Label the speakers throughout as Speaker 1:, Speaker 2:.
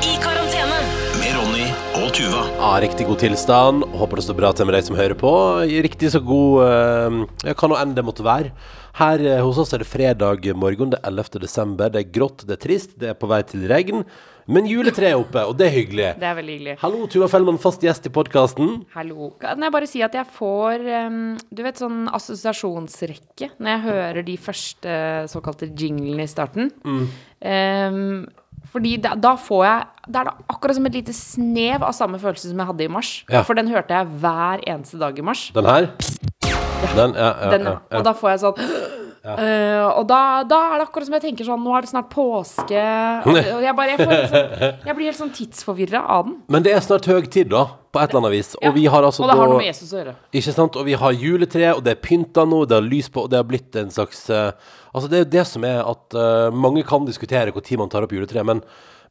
Speaker 1: I karantene.
Speaker 2: Med Ronny og Tuva.
Speaker 3: Ja, riktig god tilstand. Håper det står bra til med deg som hører på. Riktig så god eh, ja, hva nå enn det måtte være. Her eh, hos oss er det fredag morgen, det er 11. desember. Det er grått, det er trist, det er på vei til regn. Men juletreet er oppe, og det er hyggelig.
Speaker 4: Det er veldig hyggelig.
Speaker 3: Hallo, Tuva Fellmann, fast gjest i podkasten.
Speaker 4: Hallo. Kan jeg bare si at jeg får em, du vet, sånn assosiasjonsrekke når jeg hører de første såkalte jinglene i starten.
Speaker 3: Mm.
Speaker 4: Em, fordi da, da får jeg Da er det akkurat som et lite snev av samme følelse som jeg hadde i mars.
Speaker 3: Ja.
Speaker 4: For den hørte jeg hver eneste dag i mars.
Speaker 3: Den her. Den, ja, ja,
Speaker 4: Den,
Speaker 3: ja, ja.
Speaker 4: Og da får jeg sånn eh, og da, da er det akkurat som jeg tenker sånn Nå er det snart påske. Og jeg, bare, jeg, får helt sånn, jeg blir helt sånn tidsforvirra av den.
Speaker 3: Men det er snart høytid, da. På et eller annet vis. Og vi har altså
Speaker 4: og det har
Speaker 3: da
Speaker 4: noe med Jesus å gjøre.
Speaker 3: Ikke sant? Og vi har juletre, og det er pynta nå, det har lys på, og det har blitt en slags eh, Altså, det er jo det som er at eh, mange kan diskutere hvor tid man tar opp juletre, men,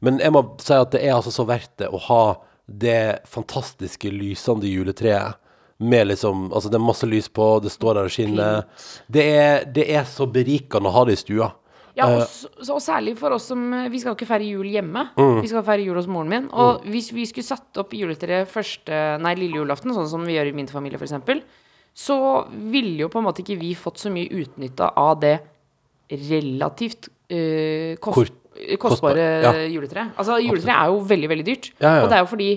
Speaker 3: men jeg må si at det er altså så verdt det å ha det fantastiske lysende juletreet med liksom Altså, det er masse lys på, det står der og skinner. Det er, det er så berikende å ha det i stua.
Speaker 4: Ja,
Speaker 3: Eh.
Speaker 4: og, s- så, og særlig for oss som eh, Vi skal jo ikke feire jul hjemme.
Speaker 3: Mm.
Speaker 4: Vi skal feire jul hos moren min. Og hvis vi skulle satt opp juletreet første Nei, lille julaften, sånn som vi gjør i min familie, f.eks., så ville jo på en måte ikke vi fått så mye utnytta av det relativt eh, kost,
Speaker 3: Kort- kostbare,
Speaker 4: eh, kostbare
Speaker 3: ja.
Speaker 4: juletreet. Altså, juletreet er jo veldig, veldig dyrt.
Speaker 3: Ja, ja.
Speaker 4: Og det er jo fordi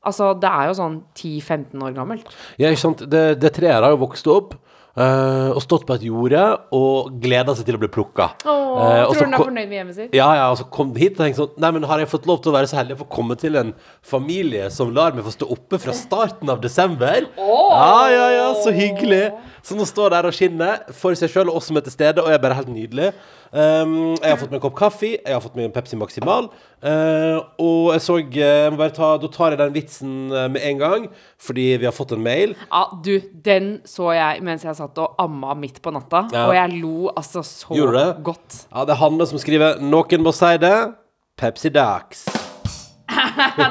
Speaker 4: Altså, det er jo sånn 10-15 år gammelt.
Speaker 3: Ja, ikke sant? Det, det treet har jo vokst opp. eh, og stått på et jorde og gleda seg til å bli plukka.
Speaker 4: Åh,
Speaker 3: Eh, og så
Speaker 4: tror du den
Speaker 3: ko-
Speaker 4: er fornøyd med hjemmet sitt?
Speaker 3: Ja, ja, og så kom det hit og tenkte sånn Nei, men har jeg fått lov til å være så heldig å få komme til en familie som lar meg få stå oppe fra starten av desember? Ja, ja, ja, så hyggelig. Så nå står jeg der og skinner for seg sjøl og oss som er til stede, og jeg er bare helt nydelig. Um, jeg har fått meg en kopp kaffe, jeg har fått meg en Pepsi Maximal. eh, og jeg så eh, jeg må bare ta, Da tar jeg den vitsen eh, med en gang, fordi vi har fått en mail.
Speaker 4: Ja, du, den så jeg mens jeg satt og amma midt på natta.
Speaker 3: Ja.
Speaker 4: Og jeg lo altså så
Speaker 3: Gjorde du det?
Speaker 4: godt.
Speaker 3: Ja, det er Hanne som skriver 'Noen må si det'. Pepsi Dax.
Speaker 4: Det,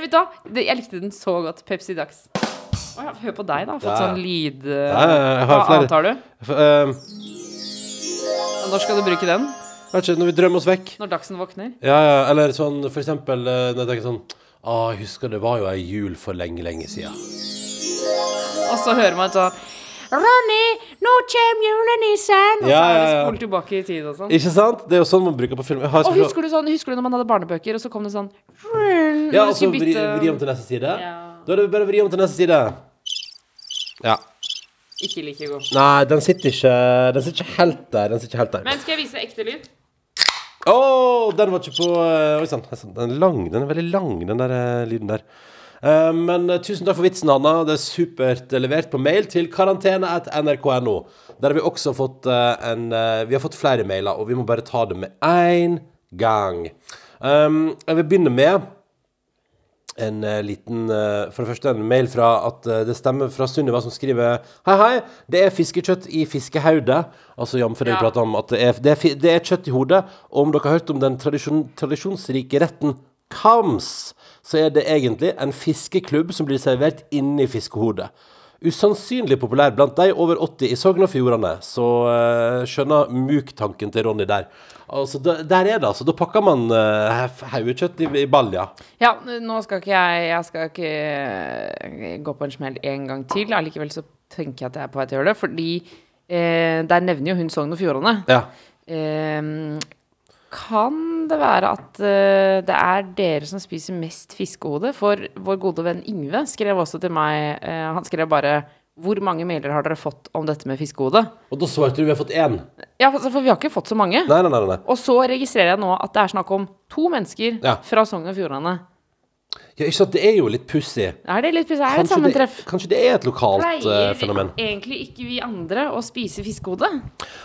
Speaker 4: vet du, hva? Det- jeg likte den så godt. Pepsi Dags. Å ja, hør på deg, da. Fått
Speaker 3: Ja.
Speaker 4: sånn lyd...
Speaker 3: ja, jeg har
Speaker 4: hva
Speaker 3: flere.
Speaker 4: annet har du?
Speaker 3: F- eh,
Speaker 4: Når skal du bruke den?
Speaker 3: vet ikke, når vi drømmer oss vekk.
Speaker 4: Når Dagsen våkner?
Speaker 3: Ja, ja, eller sånn for eksempel eh, Når jeg tenker sånn Å, jeg husker det var jo ei jul for lenge, lenge siden
Speaker 4: Og så hører man sånn Ronny, nå kjem julenissen! Og
Speaker 3: Ja,
Speaker 4: så er det
Speaker 3: ja, ja.
Speaker 4: spol tilbake i tid og sånn.
Speaker 3: Ikke sant? Det er jo sånn man bruker på film jeg har,
Speaker 4: Og husker du, sånn, husker du når man hadde barnebøker, og så kom det sånn når
Speaker 3: Ja,
Speaker 4: du
Speaker 3: og så
Speaker 4: skulle
Speaker 3: vri,
Speaker 4: bytte-
Speaker 3: vri om til neste side
Speaker 4: Ja.
Speaker 3: Da er det bare å vri om til neste side Ja
Speaker 4: Ikke like god.
Speaker 3: Nei, den sitter ikke Den sitter ikke helt der Den sitter ikke helt der
Speaker 4: Men skal jeg vise ekte lyd?
Speaker 3: Å, den var ikke på eh, Oi, sann oi, sann, Den er lang Den er veldig lang Den der eh, lyden der Eh, men eh, tusen takk for vitsen, Hanna. Det er supert eh, levert på mail til karantene.nrk.no. Der har vi også fått eh, en eh, Vi har fått flere mailer, og vi må bare ta det med én gang. Um, jeg vil begynne med en eh, liten eh, For det første en mail fra at eh, det stemmer fra Sunniva som skriver Hei, hei, det er fiskekjøtt i fiskehaudet. Altså jf. det vi
Speaker 4: Ja.
Speaker 3: pratet om, at det er, det, er, fi- det er kjøtt i hodet. Og om dere har hørt om den tradisjon, tradisjonsrike retten kams, så er det egentlig en fiskeklubb som blir servert inni fiskehodet. Usannsynlig populær blant de over 80 i Sogn og Fjordane. Så eh, skjønner muk-tanken til Ronny der. Altså, da, der er det, altså. Da pakker man uh, haugekjøtt i, i balja.
Speaker 4: Ja, nå skal ikke jeg Jeg skal ikke gå på en smell en gang til. Allikevel så tenker jeg at jeg er på vei til å gjøre det, fordi eh, der nevner jo hun Sogn og Fjordane.
Speaker 3: Ja.
Speaker 4: Ehm, kan det være at eh, det er dere som spiser mest fiskehode? For vår gode venn Yngve skrev også til meg eh, Han skrev bare hvor mange mailer har dere fått om dette med fiskehode?
Speaker 3: Og da svarte du vi har fått én.
Speaker 4: Ja, altså, for vi har ikke fått så mange.
Speaker 3: Nei, nei, nei. nei.
Speaker 4: Og så registrerer jeg nå at det er snakk om to mennesker
Speaker 3: Ja.
Speaker 4: fra Sogn og Fjordane.
Speaker 3: Ja, ikke sant? Det er jo litt pussig.
Speaker 4: Er det litt er det et
Speaker 3: Kanskje, det-
Speaker 4: sammentreff?
Speaker 3: kanskje det er et lokalt eh,
Speaker 4: Pleier
Speaker 3: fenomen.
Speaker 4: egentlig ikke vi andre å spise fiskehode?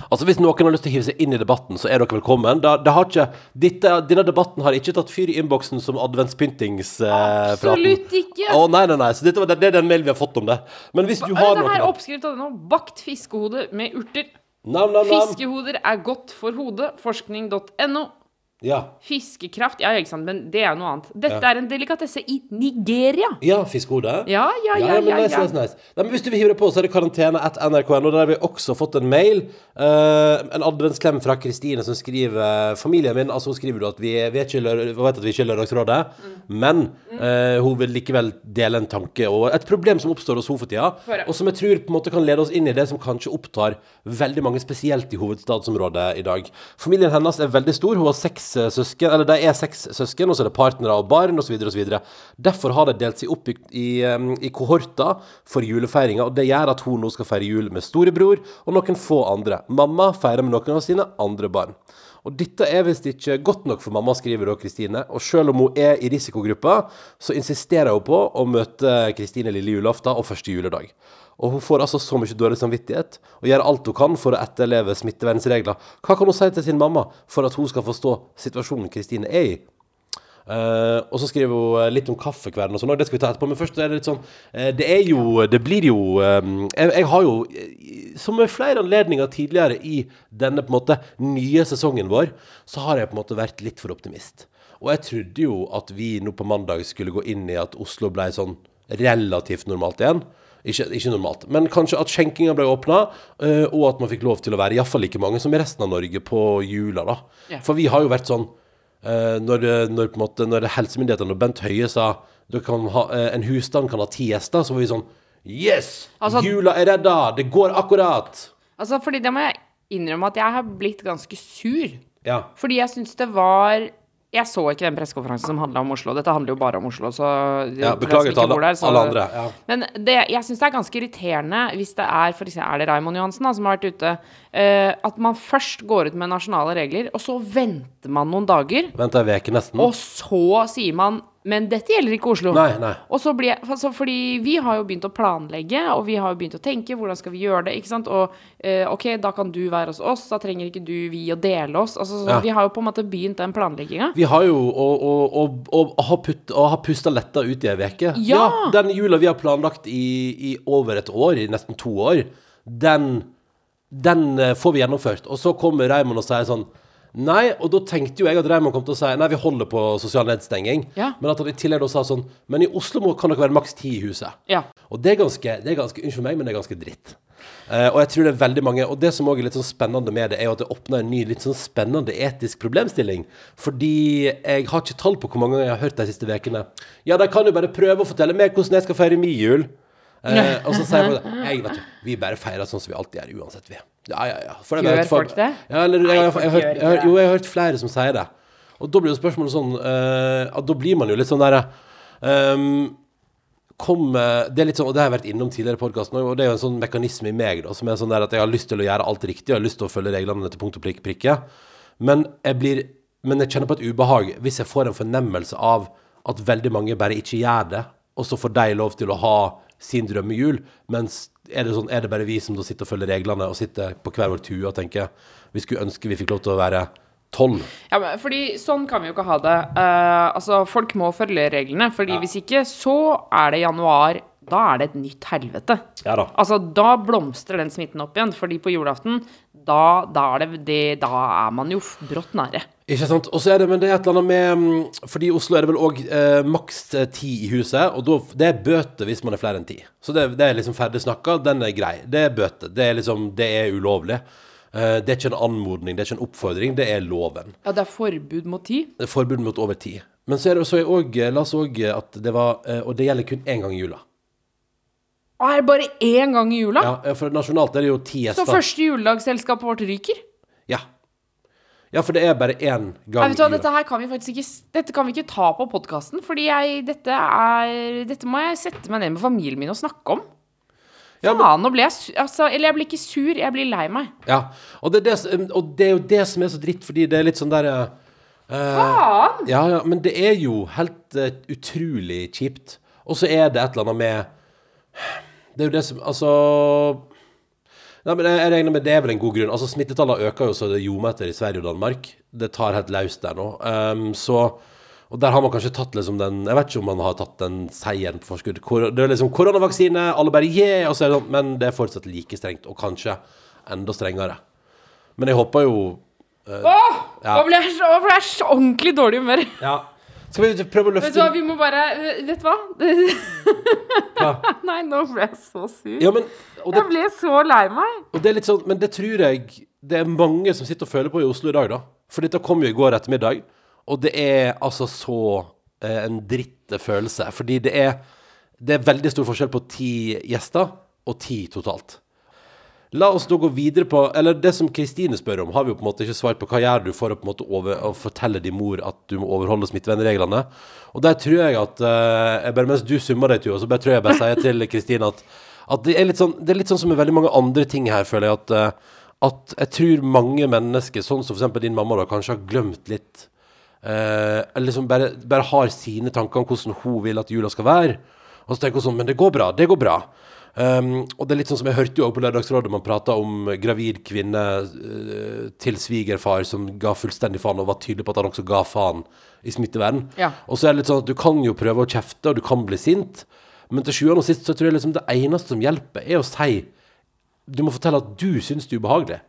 Speaker 3: Altså Hvis noen har lyst til å hive seg inn i debatten, så er dere velkommen. Da, det har ikke, dette, denne debatten har ikke tatt fyr i innboksen som adventspyntingspraten.
Speaker 4: Absolutt ikke.
Speaker 3: Å, nei, nei, nei. Så dette var, det, er den mailen vi har fått om det. Men hvis du har
Speaker 4: Dette her
Speaker 3: noen
Speaker 4: oppskrift av det nå. Bakt fiskehode med urter.
Speaker 3: Nam, nam, nam.
Speaker 4: Fiskehoder er godt for hodet. Forskning.no.
Speaker 3: Ja.
Speaker 4: Fiskekraft, ja, ikke sant, men det er jo noe annet. Dette
Speaker 3: Ja.
Speaker 4: er en delikatesse i Nigeria.
Speaker 3: Ja, fiskehode.
Speaker 4: Ja, ja, ja,
Speaker 3: men
Speaker 4: ja,
Speaker 3: nice,
Speaker 4: ja.
Speaker 3: nice, nice. Nei, men hvis du vil hive deg på, så er det karantene at nrk.no. Der har vi også fått en mail. eh, en adventsklem fra Kristine som skriver Familien min, altså hun skriver jo at vi, vi, er ikke, i lør- vi vet at vi ikke er i Lørdagsrådet,
Speaker 4: Mm.
Speaker 3: men eh, hun vil likevel dele en tanke og et problem som oppstår hos henne for tida,
Speaker 4: Få høre.
Speaker 3: og som jeg tror på en måte kan lede oss inn i det som kanskje opptar veldig mange, spesielt i hovedstadsområdet i dag. Familien hennes er veldig stor. Hun har seks eh, søsken, eller de er seks søsken, og så er det partnere og barn osv. osv. Derfor har de delt seg opp i, i, em, i kohorter for julefeiringa, og det gjør at hun nå skal feire jul med storebror og noen få andre. Mamma feirer med noen av sine andre barn. Og dette er visst ikke godt nok for mamma, skriver da Kristine. Og selv om hun er i risikogruppa, så insisterer hun på å møte Kristine lille julaften og første juledag. Og hun får altså så mye dårlig samvittighet og gjør alt hun kan for å etterleve smittevernregler. Hva kan hun si til sin mamma for at hun skal forstå situasjonen Kristine er i? Eh, og så skriver hun eh, litt om kaffekvernen og sånn, og det skal vi ta etterpå. Men først er det litt sånn eh, Det er jo Det blir jo eh, jeg, jeg har jo, eh, som ved flere anledninger tidligere i denne på en måte nye sesongen vår, så har jeg på en måte vært litt for optimist. Og jeg trodde jo at vi nå på mandag skulle gå inn i at Oslo ble sånn relativt normalt igjen. Ikke, ikke normalt, men kanskje at skjenkinga ble åpna, og at man fikk lov til å være iallfall like mange som i resten av Norge på jula, da.
Speaker 4: Ja.
Speaker 3: For vi har jo vært sånn Eh, når, når, på en måte, når helsemyndighetene og Bent Høie sa du kan ha, eh, en husstand kan ha ti gjester, så var vi sånn Yes!
Speaker 4: Altså-
Speaker 3: Jula er redda! Det går akkurat!
Speaker 4: Altså, fordi det må jeg innrømme at jeg har blitt ganske sur.
Speaker 3: Ja.
Speaker 4: Fordi jeg syns det var Jeg så ikke den pressekonferansen som handla om Oslo. Dette handler jo bare om Oslo, så
Speaker 3: Ja, beklager til alle- alle andre, ja.
Speaker 4: Men det, jeg syns det er ganske irriterende hvis det er for eksempel, Er det Raymond Johansen da, som har vært ute? eh, at man først går ut med nasjonale regler, og så venter man noen dager.
Speaker 3: Vent ei uke, nesten.
Speaker 4: Og så sier man Men dette gjelder ikke Oslo.
Speaker 3: Nei, nei.
Speaker 4: Og så blir jeg, altså, fordi vi har jo begynt å planlegge, og vi har jo begynt å tenke hvordan skal vi gjøre det. ikke sant? Og eh, ok, da kan du være hos oss, da trenger ikke du vi å dele oss. altså så
Speaker 3: Ja.
Speaker 4: Vi har jo på en måte begynt den planlegginga.
Speaker 3: Vi har jo å, å, å, å, å ha putt- å ha pusta letta ut i ei uke.
Speaker 4: Ja!
Speaker 3: Den jula vi har planlagt i, i over et år, i nesten to år, den, den eh, får vi gjennomført. Og så kommer Raymond og sier sånn Nei, og da tenkte jo jeg at Raymond kom til å si Nei, vi holder på sosial nedstenging.
Speaker 4: Ja.
Speaker 3: Men at han i tillegg da sa sånn Men i Oslo må- kan dere være maks ti i huset.
Speaker 4: Ja.
Speaker 3: Og det er ganske, det er ganske Unnskyld meg, men det er ganske dritt. Eh, og jeg tror det er veldig mange Og det som også er litt sånn spennende med det, er jo at det åpner en ny, litt sånn spennende etisk problemstilling. Fordi jeg har ikke tall på hvor mange ganger jeg har hørt de siste ukene. Ja, de kan jo bare prøve å fortelle meg hvordan jeg skal feire min jul. Eh, og så sier jeg bare Jeg vet ikke, vi bare feirer sånn som vi alltid gjør, uansett, vi. Ja, ja, ja. For det er bare
Speaker 4: Gjør
Speaker 3: et fag-
Speaker 4: folk det?
Speaker 3: Ja, eller jeg, jeg, jeg, jeg,
Speaker 4: folk
Speaker 3: jeg,
Speaker 4: gjør ikke det.
Speaker 3: jo, jeg har hørt flere som sier det. Og da blir jo spørsmålet sånn eh, at Da blir man jo litt sånn derre ehm, kom, eh, det er litt sånn, og det har jeg vært innom tidligere i podkasten og det er jo en sånn mekanisme i meg da, som er sånn der at jeg har lyst til å gjøre alt riktig, og jeg har lyst til å følge reglene til punkt og prikk, prikke. Men jeg, blir, men jeg kjenner på et ubehag hvis jeg får en fornemmelse av at veldig mange bare ikke gjør det, og så får de lov til å ha sin drømmejul, mens er det, sånn, er det bare vi som da sitter og følger reglene og sitter på hver vår tue og tenker vi skulle ønske vi fikk lov til å være tolv.
Speaker 4: Ja, men fordi sånn kan vi jo ikke ha det. Eh, altså, folk må følge reglene, fordi hvis ikke, så er det januar. Da er det et nytt helvete.
Speaker 3: Ja da.
Speaker 4: Altså, da blomstrer den smitten opp igjen, fordi på julaften, da, da, er, det, det, da er man jo f- brått nære.
Speaker 3: Ikke sant? Og så er det, men det er et eller annet med mm, Fordi i Oslo er det vel òg eh, maks eh, ti i huset, og da, det er bøter hvis man er flere enn ti. Så det, det er liksom ferdig snakka, den er grei. Det er bøter. Det er liksom, det er ulovlig. Eh, det er ikke en anmodning, det er ikke en oppfordring, det er loven.
Speaker 4: Ja, det er forbud mot ti.
Speaker 3: Det er forbud mot over ti. Men så er det så er også, eh, la oss òg at det var eh, Og det gjelder kun én gang i jula.
Speaker 4: Og er det bare én gang i jula?
Speaker 3: Ja, eh, for nasjonalt er det jo ti
Speaker 4: Ah! så
Speaker 3: gjester.
Speaker 4: første juledagsselskapet vårt ryker?
Speaker 3: Ja. ja, for det er bare én
Speaker 4: Nei,
Speaker 3: gang
Speaker 4: vet du hva,
Speaker 3: i jula.
Speaker 4: dette her kan vi faktisk ikke s- Dette kan vi ikke ta på podkasten, fordi jeg Dette er Dette må jeg sette meg ned med familien min og snakke om.
Speaker 3: Ja, men-
Speaker 4: Faen, nå ble jeg sur altså, Eller jeg blir ikke sur, jeg blir lei meg.
Speaker 3: Ja. Og, det er det, som- og det er jo det som er så dritt, fordi det er litt sånn derre
Speaker 4: Faen!
Speaker 3: Ja, ja, men det er jo helt eh, utrolig kjipt. Og så er det et eller annet med Det er jo det som Altså Nei, men jeg, jeg regner med det er vel en god grunn. Altså, Smittetallene øker jo så det ljomer etter i Sverige og Danmark. Det tar helt løst der nå. Ehm, så Og der har man kanskje tatt liksom den Jeg vet ikke om man har tatt den seieren på forskudd. Kor, det er liksom koronavaksine, alle bare yeah, og så er det sånn. Men det er fortsatt like strengt, og kanskje enda strengere. Men jeg håper jo
Speaker 4: Åh!
Speaker 3: Ja.
Speaker 4: Nå ble jeg så, nå ble jeg så ordentlig dårlig i humør.
Speaker 3: Ja. Skal vi prøve å
Speaker 4: Vet du hva,
Speaker 3: løfte
Speaker 4: vi må bare Vet du hva?
Speaker 3: Hva?
Speaker 4: Nei, nå ble jeg så sur.
Speaker 3: Ja, men og det,
Speaker 4: Jeg ble så lei meg.
Speaker 3: og det er litt sånn Men det tror jeg det er mange som sitter og føler på i Oslo i dag, da. For dette kom jo i går ettermiddag, og det er altså så eh, en dritte følelse. Fordi det er Det er veldig stor forskjell på ti gjester og ti totalt. La oss da gå videre på Eller det som Kristine spør om, har vi jo på en måte ikke svar på. Hva gjør du for å på en måte over, å fortelle din mor at du må overholde smittevernreglene? Og der tror jeg at eh, jeg bare, Mens du summer deg, Tuva, så bare tror jeg bare sier til Kristine at, at det, er litt sånn, det er litt sånn som med veldig mange andre ting her, føler jeg, at, eh, at jeg tror mange mennesker, sånn som f.eks. din mamma, da kanskje har glemt litt Eh, eller liksom bare, bare har sine tanker om hvordan hun vil at jula skal være. Og så tenker hun sånn Men det går bra. Det går bra. Um, og det er litt sånn som jeg hørte jo også på Lørdagsrådet man prata om gravid kvinne eh, til svigerfar som ga fullstendig faen, og var tydelig på at han også ga faen i smittevern.
Speaker 4: Ja.
Speaker 3: Og så er det litt sånn at du kan jo prøve å kjefte, og du kan bli sint, men til sjuende og sist så tror jeg liksom det eneste som hjelper, er å si du må fortelle at du syns det er ubehagelig.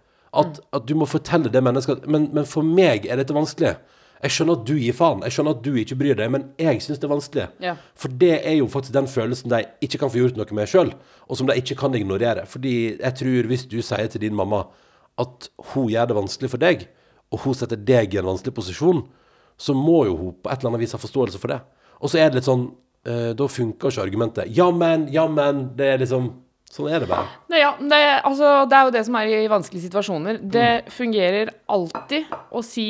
Speaker 3: At, at du må fortelle det mennesket at men, men for meg er dette vanskelig. Jeg skjønner at du gir faen, jeg skjønner at du ikke bryr deg, men jeg syns det er vanskelig.
Speaker 4: Ja.
Speaker 3: For det er jo faktisk den følelsen de ikke kan få gjort noe med sjøl, og som de ikke kan ignorere. Fordi jeg tror hvis du sier til din mamma at hun gjør det vanskelig for deg, og hun setter deg i en vanskelig posisjon, så må jo hun på et eller annet vis ha forståelse for det. Og så er det litt sånn eh, Da funker ikke argumentet. Ja, men, ja, men. Det er liksom Sånn er det bare.
Speaker 4: Nei, ja, det, altså, det er jo det som er i vanskelige situasjoner. Det fungerer alltid å si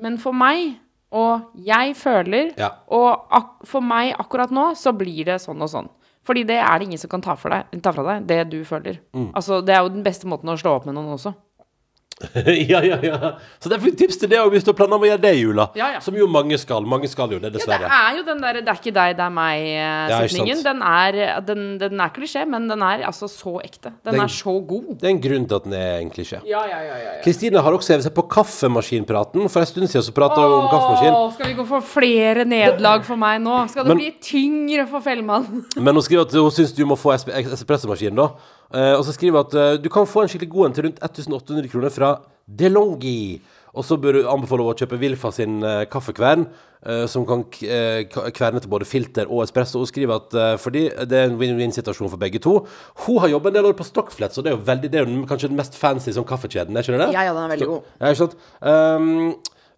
Speaker 4: 'men for meg', og 'jeg føler',
Speaker 3: Ja.
Speaker 4: og ak 'for meg akkurat nå så blir det sånn og sånn'. Fordi det er det ingen som kan ta, for deg, ta fra deg, det du føler. Altså, det er jo den beste måten å slå opp med noen også.
Speaker 3: ja, ja, ja. Så derfor et tips til det også, hvis du har planer om å gjøre det i jula.
Speaker 4: Ja, ja.
Speaker 3: Som jo mange skal. Mange skal jo det,
Speaker 4: Ja, det
Speaker 3: dessverre.
Speaker 4: er jo den der 'det er ikke deg, det er
Speaker 3: Ja, ikke
Speaker 4: meg'-setningen.
Speaker 3: sant.
Speaker 4: den, er- den, den er klisjé, men den er altså så ekte. Den,
Speaker 3: Den-
Speaker 4: er så god.
Speaker 3: det er en grunn til at den er en klisjé.
Speaker 4: Ja, ja, ja, ja, ja.
Speaker 3: Kristine har også hevet seg på kaffemaskinpraten. For en stund siden så prata hun om kaffemaskin.
Speaker 4: Åh, skal vi gå for flere nederlag for meg nå? Skal det
Speaker 3: Men-
Speaker 4: bli tyngre for Fellmann?
Speaker 3: Men hun skriver at hun syns du må få esp- espressomaskin, da. Eh, og så skriver hun at eh, du kan få en skikkelig god en til rundt 1800 kroner fra DeLonghi. Og så bør du anbefale henne å kjøpe Wilfa sin eh, kaffekvern, eh, som kan k eh, k- kverne til både filter og espresso. Hun skriver at eh, fordi det er en win-win-situasjon for begge to. Hun har jobbet en del år på Stockflett, så det er jo veldig, det er jo kanskje den mest fancy sånn kaffekjeden, er ikke det?
Speaker 4: Ja, ja, den er veldig
Speaker 3: Så-
Speaker 4: god.
Speaker 3: Ja, ikke sant? Ehm,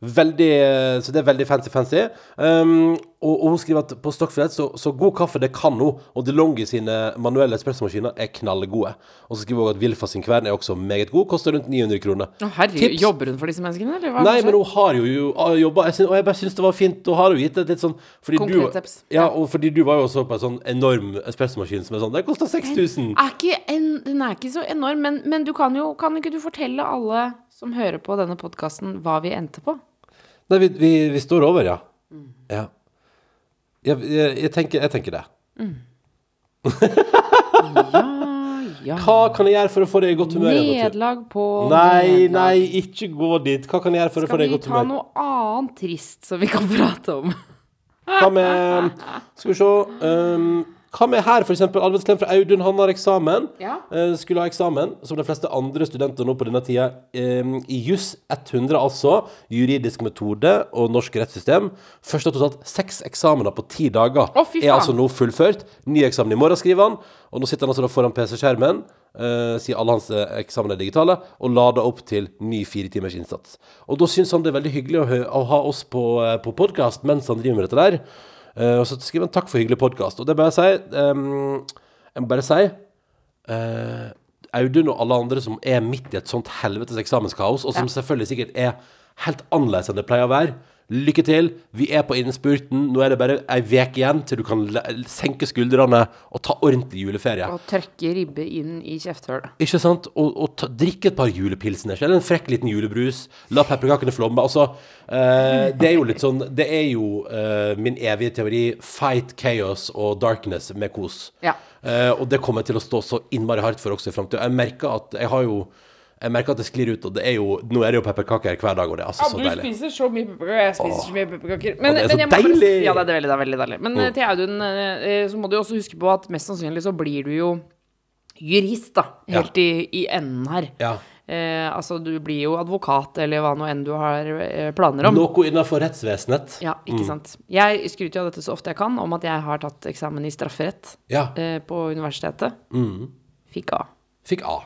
Speaker 3: veldig, eh, så det er veldig fancy, fancy. Ehm, og, og hun skriver at på Stockflett så, så god kaffe, det kan hun. Og DeLonghi sine manuelle espressomaskiner er knallgode. Og så skriver hun at Wilfa sin kvern er også meget god, koster rundt 900 kroner.
Speaker 4: Å, herregud,
Speaker 3: Tips.
Speaker 4: Jobber sånn? hun for disse menneskene, eller hva?
Speaker 3: Nei, men hun har jo, jo jobba, jeg syn- og jeg bare syns det var fint. Hun har jo gitt et litt sånn fordi
Speaker 4: Konkret
Speaker 3: du,
Speaker 4: tips.
Speaker 3: Ja, og fordi du var jo også på en sånn enorm espressomaskin som er sånn Det koster 6000.
Speaker 4: er ikke en, den er ikke så enorm, men, men du kan jo Kan ikke du fortelle alle som hører på denne podkasten, hva vi endte på?
Speaker 3: Nei, vi, vi, vi står over, ja.
Speaker 4: Mm.
Speaker 3: ja. Jeg, jeg, jeg, tenker, jeg tenker det.
Speaker 4: Mm. Ja.
Speaker 3: Hva kan jeg gjøre for å få deg i godt humør? igjen, Mathilde?
Speaker 4: Nederlag på
Speaker 3: Nei,
Speaker 4: nederlag.
Speaker 3: nei, ikke gå dit. Hva kan jeg gjøre for å få
Speaker 4: Skal
Speaker 3: deg i
Speaker 4: vi
Speaker 3: godt
Speaker 4: ta
Speaker 3: humør?
Speaker 4: noe annet trist som vi kan prate om?
Speaker 3: Hva med Skal vi se. ehm, hva med her, f.eks. Alvedsklem fra Audun. Han har eksamen.
Speaker 4: Ja.
Speaker 3: Eh, skulle ha eksamen, som de fleste andre studenter nå på denne tida. ehm, I juss 100, altså. Juridisk metode og norsk rettssystem. Først av totalt seks eksamener på ti dager
Speaker 4: Å, fy
Speaker 3: er
Speaker 4: faen.
Speaker 3: altså nå fullført. Ny eksamen i morgen, skriver han. Og nå sitter han altså da foran PC-skjermen, eh, sier alle hans eh, eksamener er digitale, og lader opp til ny fire timers innsats. Og da syns han det er veldig hyggelig å, hø å ha oss på, eh, på podkast mens han driver med dette der. Eh, og så skriver han 'takk for hyggelig podkast'. Og det bør jeg si ehm, Jeg må bare si eh, Audun og alle andre som er midt i et sånt helvetes eksamenskaos, og som selvfølgelig sikkert er helt annerledes enn det pleier å være. Lykke til. Vi er på innspurten. Nå er det bare ei uke igjen til du kan le- senke skuldrene og ta ordentlig juleferie.
Speaker 4: Å tørke ribbe inn i kjefthølet.
Speaker 3: Ikke sant? Og, og ta, drikke et par julepilsner, eller en frekk liten julebrus. La pepperkakene flomme. Altså, eh, det er jo litt sånn Det er jo eh, min evige teori fight chaos og darkness med kos.
Speaker 4: Ja.
Speaker 3: Eh, og det kommer jeg til å stå så innmari hardt for også i framtida. Jeg merker at jeg har jo jeg merker at det sklir ut, og det er jo, nå er det jo pepperkaker hver dag, og det er altså så
Speaker 4: Ja, du
Speaker 3: deilig.
Speaker 4: spiser så mye pepperkaker, og jeg spiser så mye pepperkaker. Men,
Speaker 3: det er så
Speaker 4: men jeg må bare
Speaker 3: deilig!
Speaker 4: si- Ja, det er veldig, det er veldig deilig. Men eh, til Audun eh, eh, så må du jo også huske på at mest sannsynlig så blir du jo jurist, da. Helt i, i enden her.
Speaker 3: Ja.
Speaker 4: eh, Altså, du blir jo advokat, eller hva nå enn du har eh, planer om.
Speaker 3: Noe innenfor rettsvesenet.
Speaker 4: Ja, ikke sant. Jeg skryter jo av dette så ofte jeg kan, om at jeg har tatt eksamen i strafferett
Speaker 3: Ja.
Speaker 4: eh, på universitetet.
Speaker 3: Mm.
Speaker 4: Fikk A.
Speaker 3: Fikk A.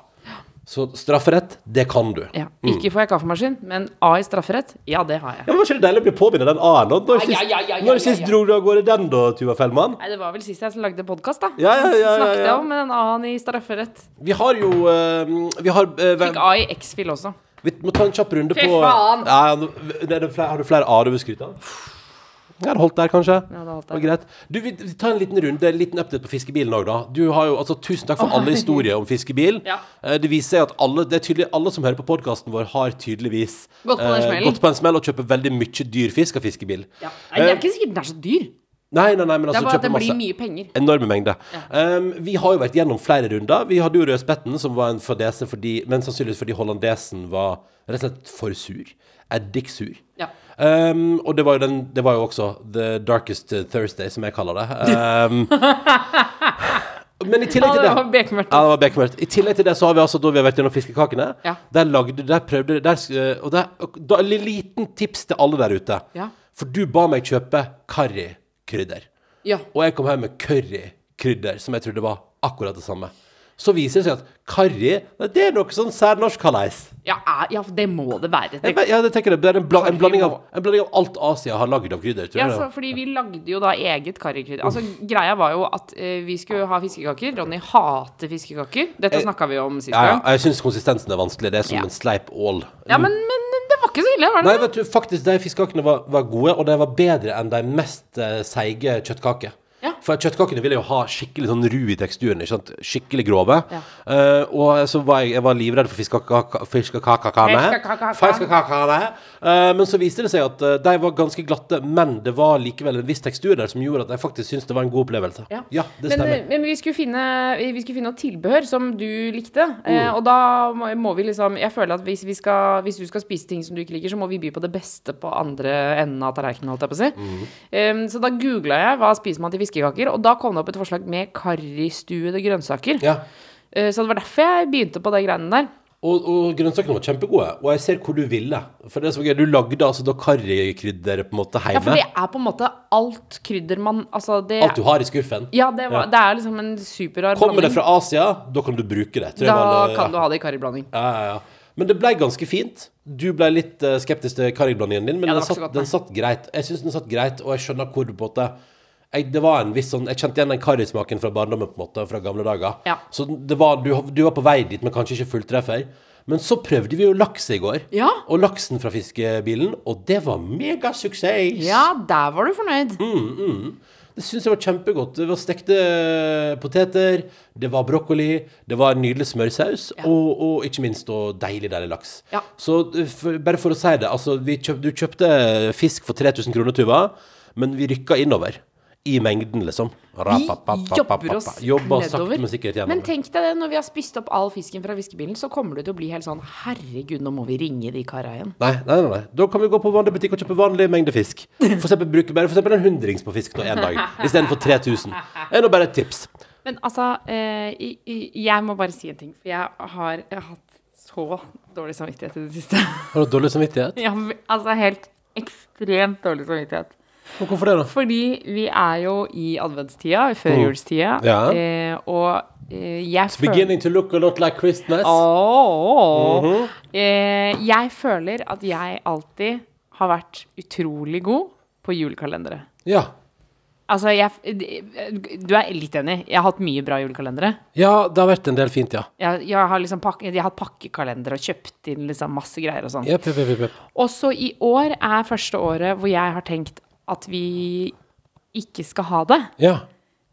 Speaker 3: Så strafferett, det kan du.
Speaker 4: Ja. Ikke får jeg kaffemaskin, men A i strafferett, ja, det har jeg.
Speaker 3: Ja, men Var ikke det deilig å bli påminnet den A-en? da? Når
Speaker 4: Ai,
Speaker 3: sist,
Speaker 4: ai, ai, ai,
Speaker 3: når
Speaker 4: ai,
Speaker 3: sist
Speaker 4: ai.
Speaker 3: dro du av gårde den, da, Tuva Fellmann?
Speaker 4: Nei, det var vel sist jeg lagde podkast, da.
Speaker 3: Ja, ja, ja, ja,
Speaker 4: Snakket
Speaker 3: ja.
Speaker 4: jeg om med den A-en i strafferett.
Speaker 3: Vi har jo eh, Vi har eh, hvem-
Speaker 4: Fikk A i X-fil også.
Speaker 3: Vi må ta en kjapp runde
Speaker 4: Fy
Speaker 3: på
Speaker 4: faen!
Speaker 3: Ja, nå- det er det flere, Har du flere A-er du vil skryte av? Jeg hadde holdt der, kanskje.
Speaker 4: Ja, det hadde holdt
Speaker 3: var greit. Du, vi vi tar en liten runde, en liten update på fiskebilen òg, da. Du har jo, altså, tusen takk for alle historier om fiskebil.
Speaker 4: Ja.
Speaker 3: Eh, Det viser seg at alle, det er tydelig, alle som hører på podkasten vår, har tydeligvis
Speaker 4: Gått på den
Speaker 3: eh,
Speaker 4: smellen.
Speaker 3: gått på en smell og kjøper veldig mye dyr fisk av fiskebil.
Speaker 4: Ja. Nei, det er ikke sikkert den er så dyr.
Speaker 3: Nei, nei, nei, men altså,
Speaker 4: Det er bare at
Speaker 3: Eh, kjøper
Speaker 4: det blir
Speaker 3: masse.
Speaker 4: mye penger.
Speaker 3: Enorme mengder. Um, vi har jo vært gjennom flere runder. Vi hadde jo Rødspetten, som var en fadese fordi Men sannsynligvis fordi hollandesen var rett og slett for sur. Eddiksur.
Speaker 4: Ja.
Speaker 3: Um, og det var, jo den, det var jo også The Darkest Thursday, som jeg kaller det. Um, men i tillegg til det
Speaker 4: Ja, det var bekmørkt. altså.
Speaker 3: Ja, det var bekmørkt. I tillegg til det så har vi altså, da vi har vært gjennom fiskekakene,
Speaker 4: Ja.
Speaker 3: der lagde der prøvde der, sk- Og der, da, liten tips til alle der ute.
Speaker 4: Ja.
Speaker 3: For du ba meg kjøpe karrikrydder.
Speaker 4: Ja.
Speaker 3: Og jeg kom hjem med currykrydder, som jeg trodde var akkurat det samme. Så viser det seg at karri nei, det er noe sånn særnorsk haleis.
Speaker 4: Ja, eh, ja, det må det være.
Speaker 3: Jeg
Speaker 4: Det,
Speaker 3: vet- Ja, det tenker jeg. Det er en, bla, en,
Speaker 4: Karri
Speaker 3: blanding av,
Speaker 4: må-
Speaker 3: en blanding av alt Asia har lagd av krydder. Tror
Speaker 4: ja,
Speaker 3: jeg. det
Speaker 4: så,
Speaker 3: var.
Speaker 4: fordi vi lagde jo da eget karrikrydder. Altså, greia var jo at eh, vi skulle ha fiskekaker. Ronny hater fiskekaker. Dette snakka vi om sist
Speaker 3: Eh, ja,
Speaker 4: gang.
Speaker 3: ja, jeg syns konsistensen er vanskelig. Det er som
Speaker 4: Ja.
Speaker 3: en sleip ål.
Speaker 4: Ja, men, men det var ikke så ille, var det
Speaker 3: Nei,
Speaker 4: det?
Speaker 3: vet du, faktisk, de fiskekakene var, var gode, og de var bedre enn de mest eh, seige kjøttkaker.
Speaker 4: Ja.
Speaker 3: For kjøttkakene ville jo ha skikkelig sånn ru i teksturen, ikke sant? skikkelig grove.
Speaker 4: Ja.
Speaker 3: Eh, og så var jeg, jeg var livredd for fiskekaka- fiskekakakene.
Speaker 4: Fiskekakakene.
Speaker 3: Fiskekakakene. Eh, men så viste det seg at eh, de var ganske glatte, men det var likevel en viss tekstur der som gjorde at jeg faktisk syntes det var en god opplevelse.
Speaker 4: Ja.
Speaker 3: det
Speaker 4: men, eh,
Speaker 3: stemmer.
Speaker 4: men vi skulle finne Vi skulle finne noe tilbehør som du likte.
Speaker 3: Mm.
Speaker 4: Eh, og da må, må vi liksom Jeg føler at hvis, vi skal, hvis du skal spise ting som du ikke liker, så må vi by på det beste på andre enden av tallerkenen, holdt jeg på å si.
Speaker 3: Mm.
Speaker 4: Eh, så da googla jeg hva spiser man til fiskekaker, og da kom det opp et forslag med karristuede grønnsaker.
Speaker 3: Ja.
Speaker 4: Eh, så det var derfor jeg begynte på de greiene der.
Speaker 3: Og, og grønnsakene var kjempegode, og jeg ser hvor du ville. For det som var gøy, du lagde altså da karrikrydderet på en måte
Speaker 4: Ja,
Speaker 3: hjemme.
Speaker 4: for det er på en måte alt krydder man Altså, det
Speaker 3: Alt du har i skuffen.
Speaker 4: Ja, det, var, det er liksom en superrar
Speaker 3: Kommer det fra Asia, da kan du bruke det. Tror jeg
Speaker 4: Da
Speaker 3: var- eh,
Speaker 4: kan du ha det i karriblanding.
Speaker 3: ja, ja, ja. Men det ble ganske fint. Du ble litt eh, skeptisk til karriblandingen din, men
Speaker 4: Ja,
Speaker 3: den,
Speaker 4: det var ikke så
Speaker 3: satt,
Speaker 4: godt, nei.
Speaker 3: den satt greit. Jeg syns den satt greit, og jeg skjønner hvor du på en måte jeg, det var en viss sånn, jeg kjente igjen den karrismaken fra barndommen, på en måte, fra gamle dager.
Speaker 4: Ja.
Speaker 3: Så det var, du, du var på vei dit, men kanskje ikke fulltreffer. Men så prøvde vi jo laks i går,
Speaker 4: Ja.
Speaker 3: og laksen fra fiskebilen, og det var megasuksess!
Speaker 4: Ja, der var du fornøyd.
Speaker 3: Det syns jeg var kjempegodt. Det var stekte eh, poteter, det var brokkoli, det var en nydelig smørsaus, og, og ikke minst og deilig, deilig laks.
Speaker 4: Ja.
Speaker 3: Så eh, for, bare for å si det, altså vi kjøp, du kjøpte fisk for 3000 kroner, Tuva, men vi rykka innover. I mengden, liksom.
Speaker 4: Vi
Speaker 3: Rapapapapapapa.
Speaker 4: jobber oss
Speaker 3: Jobber sakte,
Speaker 4: nedover.
Speaker 3: men sikkert gjennom.
Speaker 4: Men tenk deg det, når vi har spist opp all fisken fra fiskebilen, så kommer du til å bli helt sånn Herregud, nå må vi ringe de kara igjen.
Speaker 3: Nei, nei, nei, nei. Da kan vi gå på vanlig butikk og kjøpe vanlig mengde fisk. For eksempel, bruke bare for eksempel en hundrings på fisk nå en dag, istedenfor 3000. Det er nå bare et tips.
Speaker 4: Men altså, eh, i- i- jeg må bare si en ting. For jeg har, jeg har hatt så dårlig samvittighet i det siste.
Speaker 3: Har du dårlig samvittighet?
Speaker 4: Ja, men altså helt ekstremt dårlig samvittighet.
Speaker 3: Hvorfor det, da?
Speaker 4: Fordi vi er jo i adventstida, førjulstida,
Speaker 3: Ja.
Speaker 4: eh, og eh, jeg føler
Speaker 3: Beginning to look a lot like Christmas.
Speaker 4: Ååå. eh, jeg føler at jeg alltid har vært utrolig god på julekalendere.
Speaker 3: Ja.
Speaker 4: Altså, jeg d- Du er litt enig. Jeg har hatt mye bra julekalendere.
Speaker 3: ja, det har vært en del fint, ja.
Speaker 4: Jeg, jeg har liksom pakke, jeg har hatt pakkekalender og kjøpt inn liksom masse greier og sånn.
Speaker 3: Jepp, jepp, jepp, jepp.
Speaker 4: Også i år er første året hvor jeg har tenkt at vi ikke skal ha det.
Speaker 3: Ja.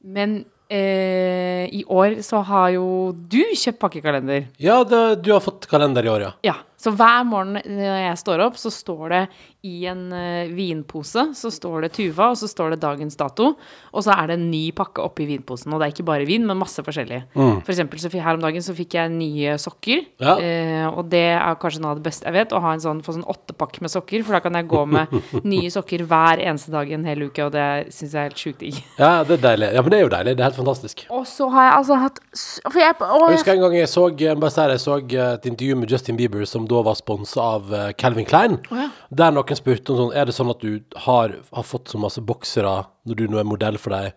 Speaker 4: Men eh, i år så har jo du kjøpt pakkekalender.
Speaker 3: ja det, du har fått kalender i år, ja.
Speaker 4: Ja, Så hver morgen eh, når jeg står opp, så står det i en eh, vinpose så står det Tuva, og så står det dagens dato. Og så er det en ny pakke oppi vinposen. Og det er ikke bare vin, men masse forskjellig. For eksempel så fi- her om dagen så fikk jeg nye sokker.
Speaker 3: Mm. Ja.
Speaker 4: Eh, og det er kanskje noe av det beste jeg vet, å ha en sånn, få sånn åttepakke med sokker. For da kan jeg gå med nye sokker hver eneste dag i en hel uke, og det syns jeg er helt sjukt digg.
Speaker 3: Ja, det er deilig. Ja, men det er jo deilig. Det er helt fantastisk.
Speaker 4: Og så har jeg altså hatt s- For jeg, å,
Speaker 3: Jeg
Speaker 4: jeg
Speaker 3: husker en gang jeg så, jeg må bare si det, jeg så eh, et intervju med Justin Bieber, som da var sponsa av eh, Calvin Klein.
Speaker 4: ja.
Speaker 3: Der noen spurte om sånn Er det sånn at du har, har fått så masse boksere når du nå er modell for deg?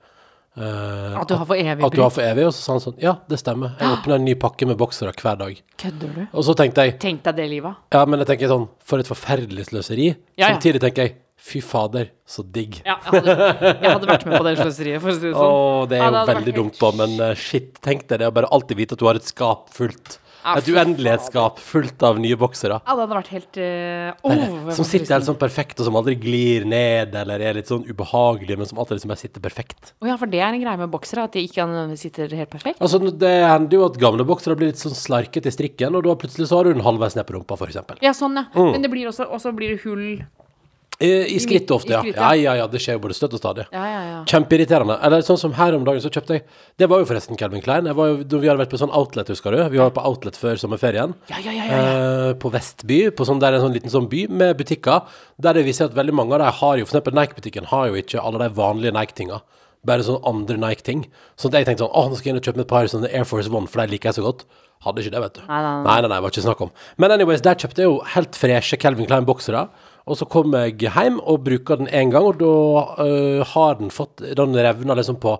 Speaker 3: eh,
Speaker 4: At du har for evig
Speaker 3: at du har
Speaker 4: bruk.
Speaker 3: for evig? Og så sa han sånn Ja, det stemmer. Jeg åpner en ny pakke med boksere hver dag.
Speaker 4: Kødder du?
Speaker 3: Og så tenkte jeg
Speaker 4: Tenk deg det livet.
Speaker 3: Ja, men jeg tenker sånn For et forferdelig sløseri.
Speaker 4: Ja, ja.
Speaker 3: Samtidig tenker jeg Fy fader, så digg.
Speaker 4: Ja, jeg hadde, jeg hadde vært med på det sløseriet, for å si det sånn.
Speaker 3: Åh, det er jo
Speaker 4: Ja, hadde vært
Speaker 3: veldig
Speaker 4: helt
Speaker 3: dumt, da, men eh, shit, tenk deg det å bare alltid vite at du har et skap fullt.
Speaker 4: Ja,
Speaker 3: Et
Speaker 4: fy
Speaker 3: uendelighetsskap fullt av nye boksere.
Speaker 4: Ja, det hadde vært helt eh, overforfriskende.
Speaker 3: Som sitter helt sånn perfekt, og som aldri glir ned, eller er litt sånn ubehagelige, men som alltid liksom bare sitter perfekt.
Speaker 4: Å ja, for det er en greie med boksere, at de ikke an- sitter helt perfekt.
Speaker 3: Altså, det hender jo at gamle boksere blir litt sånn slarket i strikken, og da plutselig så har du den halvveis ned på rumpa, for eksempel.
Speaker 4: Ja, sånn, ja.
Speaker 3: Mm.
Speaker 4: Men det blir også, også blir det hull
Speaker 3: I, Eh, i skrittet ofte, ja.
Speaker 4: skrittet,
Speaker 3: Ja,
Speaker 4: ja.
Speaker 3: ja, ja, det skjer jo både støtt og stadig.
Speaker 4: Ja, ja, ja.
Speaker 3: Kjempeirriterende. Eller sånn som her om dagen, så kjøpte jeg Det var jo forresten Calvin Klein. Jeg var jo, da vi hadde vært på sånn outlet, husker du? Vi var på outlet før sommerferien.
Speaker 4: Ja, ja, ja, ja,
Speaker 3: Eh, på Vestby, på sånn, der er en sånn liten sånn by med butikker. Der det viser at veldig mange av de har jo For eksempel Nike-butikken har jo ikke alle de vanlige Nike-tinga. Bare sånne andre Nike-ting. Sånn at jeg tenkte sånn Å, nå skal jeg inn og kjøpe meg et par sånne Air Force One, for de liker jeg så godt. Hadde ikke det, vet du.
Speaker 4: Nei, nei, nei.
Speaker 3: Nei, nei, nei, var ikke snakk om. Men anyways, der kjøpte jeg jo helt freshe Calvin Klein boksere. Og så kom jeg hjem og bruker den én gang, og da øh, har den fått Den revna liksom på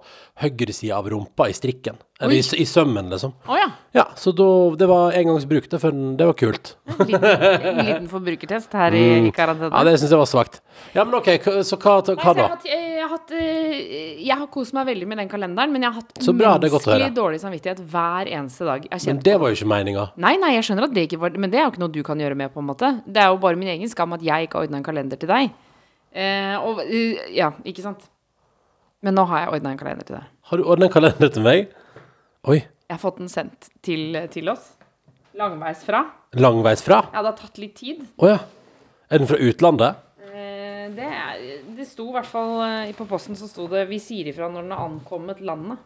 Speaker 3: høyresida av rumpa i strikken. Eller i, s- i sømmen, liksom.
Speaker 4: Å ja.
Speaker 3: Ja, så da Det var engangsbruk, det, for den, det var kult.
Speaker 4: En liten, en liten forbrukertest her i, i karantene.
Speaker 3: Mm. Ja, det syns jeg var svakt. Ja, men OK, hva- så hva,
Speaker 4: Nei,
Speaker 3: hva
Speaker 4: så jeg,
Speaker 3: da?
Speaker 4: har, hatt- eh, jeg, har hatt, eh, jeg har kost meg veldig med den kalenderen, men jeg har hatt
Speaker 3: Så bra, det er godt å høre.
Speaker 4: menneskelig dårlig samvittighet hver eneste dag. Jeg har
Speaker 3: Men
Speaker 4: kjent
Speaker 3: det var jo ikke meninga.
Speaker 4: Nei, nei, jeg skjønner at det ikke var Men det er jo ikke noe du kan gjøre med, på en måte. Det er jo bare min egen skam at jeg ikke har ordna en kalender til deg. Eh, og eh, Ja, ikke sant? Men nå har jeg ordna en kalender til deg.
Speaker 3: Har du ordna en kalender til meg? Oi.
Speaker 4: Jeg har fått den sendt til, til oss. Langveis fra.
Speaker 3: Langveis fra?
Speaker 4: Ja, det har tatt litt tid.
Speaker 3: Å ja. Er den fra utlandet?
Speaker 4: Eh, det, er, det sto i hvert fall eh, På posten så sto det 'Vi sier ifra når den har ankommet landet'.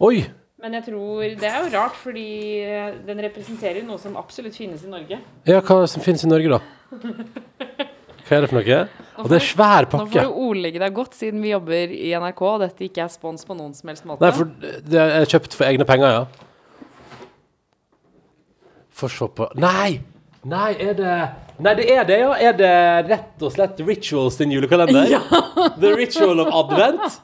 Speaker 3: Oi.
Speaker 4: Men jeg tror Det er jo rart, fordi eh, den representerer jo noe som absolutt finnes i Norge.
Speaker 3: Ja, hva som finnes i Norge, da? Hva er det for noe? Og det er svær
Speaker 4: Nå
Speaker 3: pakke.
Speaker 4: får du ordlegge deg godt, siden vi jobber i NRK, og dette ikke er spons på noen som helst måte.
Speaker 3: Nei, for det er kjøpt for egne penger, ja. Få se på Nei! Nei, er det Nei, det er det, ja. Er det rett og slett Rituals sin julekalender?
Speaker 4: Ja.
Speaker 3: The Ritual of Advent?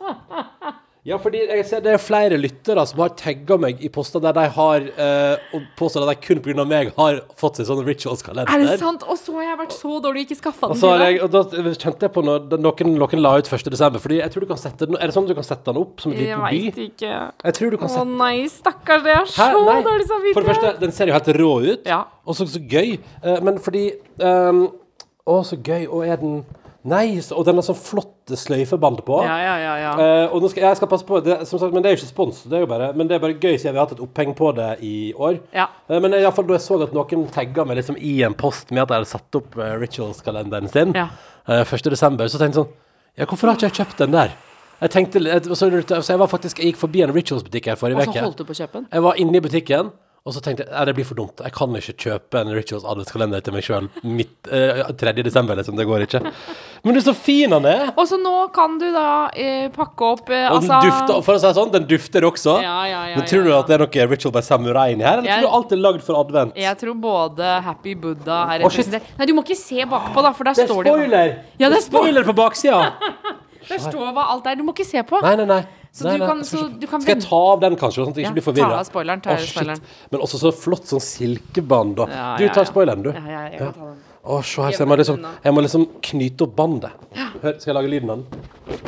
Speaker 3: Ja, fordi jeg ser det er flere lyttere som har tagga meg i poster der de har eh, og påstår at de kun pga. meg har fått seg sånn Rituals-kalender.
Speaker 4: Er det sant? Og så har jeg vært så dårlig og ikke skaffa
Speaker 3: Og
Speaker 4: den
Speaker 3: så
Speaker 4: til
Speaker 3: har
Speaker 4: deg.
Speaker 3: jeg, og da kjente jeg på når den- noen, noen la ut 1. desember, fordi jeg tror du kan sette den, er det sånn at du kan sette den opp som en
Speaker 4: Jeg
Speaker 3: liten
Speaker 4: veit
Speaker 3: by?
Speaker 4: ikke.
Speaker 3: Jeg tror du kan
Speaker 4: Å
Speaker 3: sette
Speaker 4: nei, stakkars, det er så
Speaker 3: Hæ? Nei.
Speaker 4: dårlig
Speaker 3: For det
Speaker 4: samvittighet.
Speaker 3: første, den ser jo helt rå ut,
Speaker 4: Ja.
Speaker 3: og så, så gøy, Eh, men fordi, ehm, å så gøy, og er den, nei, så- og den har sånn flotte sløyfeband på.
Speaker 4: Ja, ja, ja, ja.
Speaker 3: Eh, og nå skal, jeg skal passe på, det, som sagt, men det er jo ikke spons, det er jo bare, men det er bare gøy siden vi har hatt et oppheng på det i år.
Speaker 4: Ja.
Speaker 3: Eh, men i alle fall da jeg så at noen tagget meg liksom, i en post med at jeg hadde satt opp eh, rituals-kalenderen sin,
Speaker 4: Ja.
Speaker 3: eh, 1. desember, så tenkte jeg sånn, ja, hvorfor har ikke jeg kjøpt den der? Jeg tenkte, litt- og så, så jeg var faktisk, jeg gikk forbi en rituals-butikk her forrige
Speaker 4: Og
Speaker 3: veke.
Speaker 4: så holdt du på å kjøpe den?
Speaker 3: Jeg var inne i butikken, og så tenkte jeg at det blir for dumt. Jeg kan ikke kjøpe en Rituals adventskalender til meg sjøl midt eh, 3. desember, liksom. Det går ikke. Men du, så fin han er!
Speaker 4: Og så nå kan du da eh, pakke opp eh,
Speaker 3: Og den
Speaker 4: altså
Speaker 3: dufter, for å si det sånn, den dufter også.
Speaker 4: Ja, ja, ja,
Speaker 3: Men tror du
Speaker 4: ja, ja.
Speaker 3: at det er noe Ritual by Samurai inni her, eller
Speaker 4: Jeg-
Speaker 3: tror du alt er lagd for advent?
Speaker 4: Jeg tror både Happy Buddha
Speaker 3: Å,
Speaker 4: er
Speaker 3: shit.
Speaker 4: representert. Nei, du må ikke se bakpå, da, for der
Speaker 3: Det er
Speaker 4: står det jo-
Speaker 3: spoiler!
Speaker 4: Ja, det er spo-
Speaker 3: spoiler på baksida!
Speaker 4: Der står hva alt er. Du må ikke se på.
Speaker 3: Nei, nei, nei.
Speaker 4: Så
Speaker 3: nei,
Speaker 4: du
Speaker 3: nei,
Speaker 4: kan-
Speaker 3: jeg skal
Speaker 4: så
Speaker 3: ikke-
Speaker 4: du kan
Speaker 3: Skal jeg
Speaker 4: vente.
Speaker 3: ta av den, kanskje, sånn at jeg
Speaker 4: Ja,
Speaker 3: ikke blir
Speaker 4: ta
Speaker 3: forvirra?
Speaker 4: av spoileren, ta av spoileren.
Speaker 3: Men også så flott sånn silkebånd, da.
Speaker 4: Ja,
Speaker 3: du
Speaker 4: ja,
Speaker 3: tar
Speaker 4: ja.
Speaker 3: spoileren, du.
Speaker 4: Ja, ja, jeg kan ta den.
Speaker 3: Å, se her, så jeg må liksom, jeg må liksom knyte opp bandet. Hør, skal jeg lage lyden av den?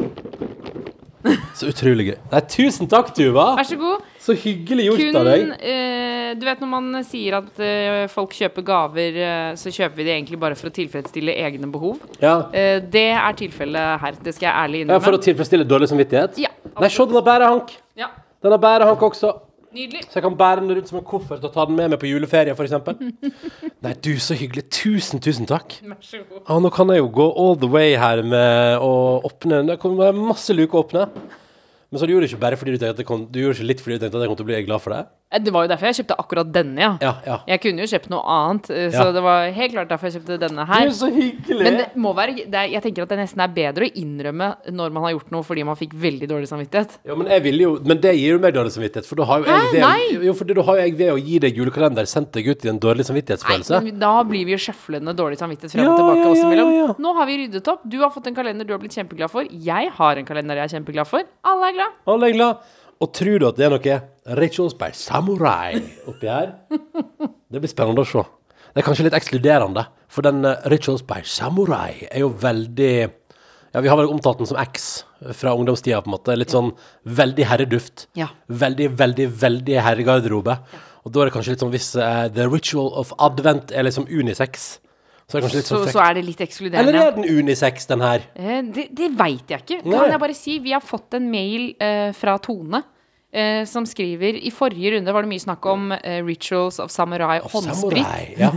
Speaker 3: Så utrolig gøy. Nei, tusen takk, Tuva!
Speaker 4: Vær så god.
Speaker 3: Så hyggelig gjort av deg.
Speaker 4: Kun eh, Du vet når man sier at eh, folk kjøper gaver, eh, så kjøper vi det egentlig bare for å tilfredsstille egne behov.
Speaker 3: Ja.
Speaker 4: Eh, det er tilfellet her. Det skal jeg ærlig
Speaker 3: ja, For
Speaker 4: innrømme.
Speaker 3: å tilfredsstille dårlig samvittighet?
Speaker 4: Ja,
Speaker 3: Nei, se, den har bærehank!
Speaker 4: Ja.
Speaker 3: Den har bærehank også.
Speaker 4: Nydelig.
Speaker 3: Så jeg kan bære den rundt som en koffert og ta den med meg på juleferie, f.eks. Nei, du, så hyggelig. Tusen, tusen takk.
Speaker 4: Vær så god.
Speaker 3: Ja, nå kan jeg jo gå all the way her med å åpne Det kommer masse luker å åpne. Men så du gjorde det ikke bare fordi du tenkte at det kom, du gjorde det ikke litt fordi du tenkte at jeg kom til å bli glad for deg?
Speaker 4: Eh, Det var jo derfor jeg kjøpte akkurat denne, ja.
Speaker 3: Ja, ja.
Speaker 4: Jeg kunne jo kjøpt noe annet, eh, så
Speaker 3: Ja.
Speaker 4: det var helt klart derfor jeg kjøpte denne her.
Speaker 3: så hyggelig!
Speaker 4: Men det må være, det er, jeg tenker at det nesten er bedre å innrømme når man har gjort noe fordi man fikk veldig dårlig samvittighet.
Speaker 3: Ja, men, jeg ville jo, men det gir jo meg dårlig samvittighet, for da har jo jeg
Speaker 4: Hæ?
Speaker 3: ved,
Speaker 4: Nei!
Speaker 3: jo, fordi da har jo jeg ved å gi deg julekalender sendt deg ut i en dårlig
Speaker 4: Nei,
Speaker 3: samvittighetsfølelse.
Speaker 4: men da blir vi jo sjøflende dårlig samvittighet frem
Speaker 3: Ja,
Speaker 4: og tilbake
Speaker 3: ja,
Speaker 4: oss
Speaker 3: ja,
Speaker 4: imellom.
Speaker 3: ja, ja.
Speaker 4: Nå har vi ryddet opp. Du har fått en kalender du har blitt kjempeglad for. Jeg har en kalender jeg er kjempeglad for. Alle er glad.
Speaker 3: Alle er glad. Og tror du at det er noe Rituals by Samurai oppi her? Det blir spennende å se. Det er kanskje litt ekskluderende, for den eh, Rituals by Samurai er jo veldig Ja, vi har vel omtalt den som X fra ungdomstida, på en måte. Litt sånn veldig herreduft.
Speaker 4: Ja.
Speaker 3: Veldig, veldig, veldig herregarderobe. Og da er det kanskje litt sånn hvis eh, The Ritual of Advent er liksom unisex, så er det kanskje litt
Speaker 4: Så,
Speaker 3: sånn
Speaker 4: så er det litt
Speaker 3: Eller
Speaker 4: ekskluderende.
Speaker 3: er den unisex, den her?
Speaker 4: Eh, Det, det veit jeg ikke.
Speaker 3: Nei.
Speaker 4: Kan jeg bare si Vi har fått en mail eh, fra Tone. eh, som skriver I forrige runde var det mye snakk om eh, rituals of samurai håndsprit.
Speaker 3: Samurai. Ja.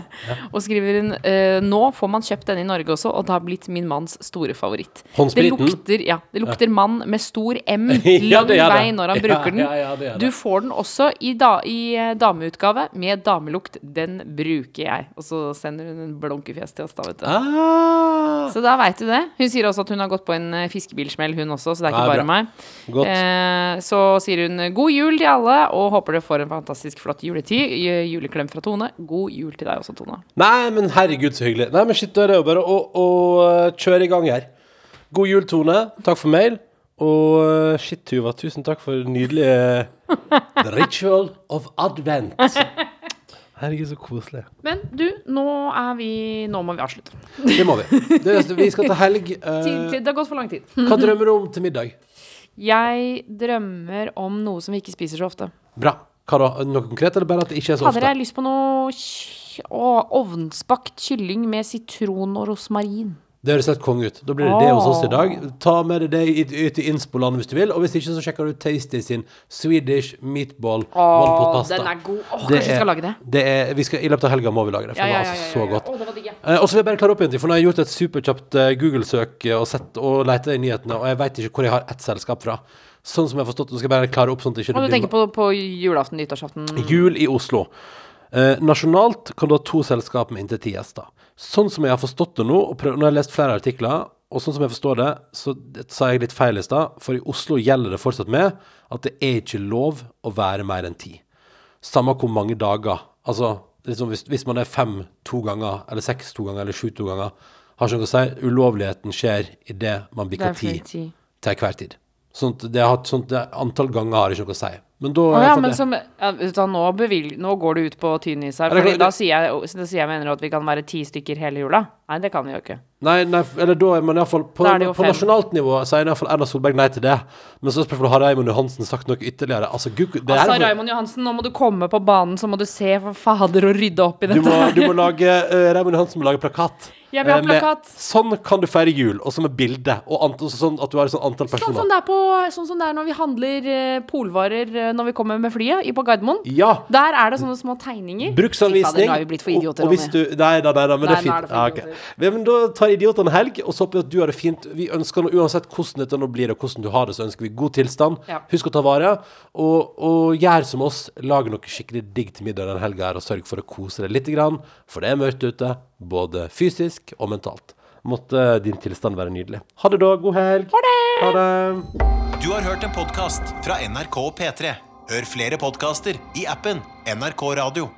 Speaker 4: Og skriver hun eh, Nå får man kjøpt denne i Norge også, og det har blitt min manns store favoritt.
Speaker 3: Håndspriten?
Speaker 4: Det lukter, ja, det lukter mann med stor M lang
Speaker 3: Ja, det gjør det.
Speaker 4: vei når han
Speaker 3: Ja,
Speaker 4: bruker den.
Speaker 3: ja, ja, det gjør
Speaker 4: du
Speaker 3: det.
Speaker 4: får den også i, da, i eh, dameutgave med damelukt. Den bruker jeg. Og så sender hun en blunkefjes til oss, da, vet du.
Speaker 3: Ah.
Speaker 4: Så da veit du det. Hun sier også at hun har gått på en eh, fiskebilsmell, hun også, så det er
Speaker 3: Ja,
Speaker 4: ikke
Speaker 3: bra.
Speaker 4: bare meg.
Speaker 3: Godt.
Speaker 4: Eh, så sier hun god jul til alle, og håper dere får en fantastisk flott juletid. Ju- Juleklem fra Tone. God jul til deg også, Tone.
Speaker 3: Nei, men herregud, så hyggelig. Nei, men shit, da er det jo bare å, å øh, kjøre i gang her. God jul, Tone. Takk for mail. Og øh, shit, Tuva, tusen takk for nydelig øh, The ritual of advent. Herregud, så koselig.
Speaker 4: Men du, nå er vi Nå må vi avslutte.
Speaker 3: Det må vi. Det, vi skal til helg. øh,
Speaker 4: Tid, tid, det har gått for lang tid.
Speaker 3: hva drømmer du om til middag?
Speaker 4: Jeg drømmer om noe som vi ikke spiser så ofte.
Speaker 3: Bra. Hva da? Noe konkret, eller bare at det ikke er så
Speaker 4: Fader,
Speaker 3: ofte?
Speaker 4: jeg har lyst på noe kj- å, ovnsbakt kylling med sitron og rosmarin.
Speaker 3: Det høres helt konge ut. Da blir det det hos oss i dag. Ta med deg det ut- ut i Innspoland hvis du vil. Og hvis ikke, så sjekker du Tasty sin Swedish meatball one pot pasta.
Speaker 4: den er god.
Speaker 3: Det
Speaker 4: Åh, kanskje vi
Speaker 3: er-
Speaker 4: skal lage det?
Speaker 3: det er, vi skal, I løpet av helga må vi lage det, for
Speaker 4: Ja, ja,
Speaker 3: det var
Speaker 4: ja, ja,
Speaker 3: altså
Speaker 4: ja,
Speaker 3: så
Speaker 4: ja.
Speaker 3: godt.
Speaker 4: Å, det var digg, ja.
Speaker 3: Eh, og så vil jeg bare klare opp igjen, for nå har jeg gjort et superkjapt eh, Google-søk eh, og sett og leita i nyhetene, og jeg veit ikke hvor jeg har ett selskap fra. Sånn som jeg har forstått det, så skal jeg bare klare opp sånn at det ikke
Speaker 4: Og du
Speaker 3: blir
Speaker 4: tenker på, på julaften, nyttårsaften
Speaker 3: Jul i Oslo. Eh, nasjonalt kan du ha to selskap med inntil ti gjester. Sånn som jeg har forstått det nå, og prøv, nå har jeg lest flere artikler, og sånn som jeg forstår det, så det, sa jeg litt feil i stad, for i Oslo gjelder det fortsatt med at det er ikke lov å være mer enn ti. Samme hvor mange dager. Altså liksom hvis, hvis man er fem to ganger, eller seks to ganger, eller sju to ganger, har ikke noe å si. Ulovligheten skjer idet man bikker
Speaker 4: Det er
Speaker 3: ti
Speaker 4: fordi ti.
Speaker 3: til hver tid. Sånn at det har, sånn at det, antall ganger har ikke noe å si. Men da
Speaker 4: Å
Speaker 3: er
Speaker 4: ja,
Speaker 3: iallfall
Speaker 4: men
Speaker 3: det-
Speaker 4: som, ja, vet du, hva, nå, bevil, nå går det ut på tynnis
Speaker 3: Ja,
Speaker 4: her.
Speaker 3: det
Speaker 4: Fordi
Speaker 3: kan-
Speaker 4: da sier jeg, så da sier jeg med andre ord at vi kan være ti stykker hele jula. Nei, det kan vi jo ikke.
Speaker 3: Nei, nei, eller da er man iallfall på,
Speaker 4: Da er det jo
Speaker 3: på
Speaker 4: fem.
Speaker 3: nasjonalt nivå sier iallfall Erna Solberg nei til det. Men så spørs det har Raymond Johansen sagt noe ytterligere. Altså, Gud, det
Speaker 4: Altså,
Speaker 3: er
Speaker 4: Raymond Johansen, nå må du komme på banen, så må du se for fader og rydde opp i
Speaker 3: du
Speaker 4: dette.
Speaker 3: må, du må lage eh, Raymond Johansen må lage plakat.
Speaker 4: Jeg vil ha
Speaker 3: Eh, med
Speaker 4: plakat.
Speaker 3: 'Sånn kan du feire jul', og så med bilde. Og ant, og sånn at du har et sånt antall
Speaker 4: Sånn
Speaker 3: personer.
Speaker 4: som, det er på, sånn som det er når vi handler eh, polvarer eh, når vi kommer med flyet i- på Gardermoen.
Speaker 3: Ja.
Speaker 4: Der er det sånne små tegninger. Fy fader,
Speaker 3: Bruksanvisning.
Speaker 4: nå er vi blitt for idioter,
Speaker 3: og, og hvis
Speaker 4: Ronny.
Speaker 3: du, nei, nei, nei, nei, men det er
Speaker 4: Nei, nå
Speaker 3: fint.
Speaker 4: er det for
Speaker 3: Ja, ok.
Speaker 4: idioter.
Speaker 3: Ja, men da tar idiotene helg, og så håper vi at du har det fint. Vi ønsker nå, uansett hvordan dette nå blir, og hvordan du har det, så ønsker vi god tilstand.
Speaker 4: Ja.
Speaker 3: Husk å ta vare, og, og gjør som oss. Lag noe skikkelig digg til middag den helga her, og sørg for å kose deg litt, grann, for det er mørkt ute, både fysisk og mentalt. Måtte din tilstand være nydelig. Ha det da. God helg. Ha det. Ha det.
Speaker 2: Du har hørt en podcast fra NRK P3. Hør flere podcaster i appen NRK Radio.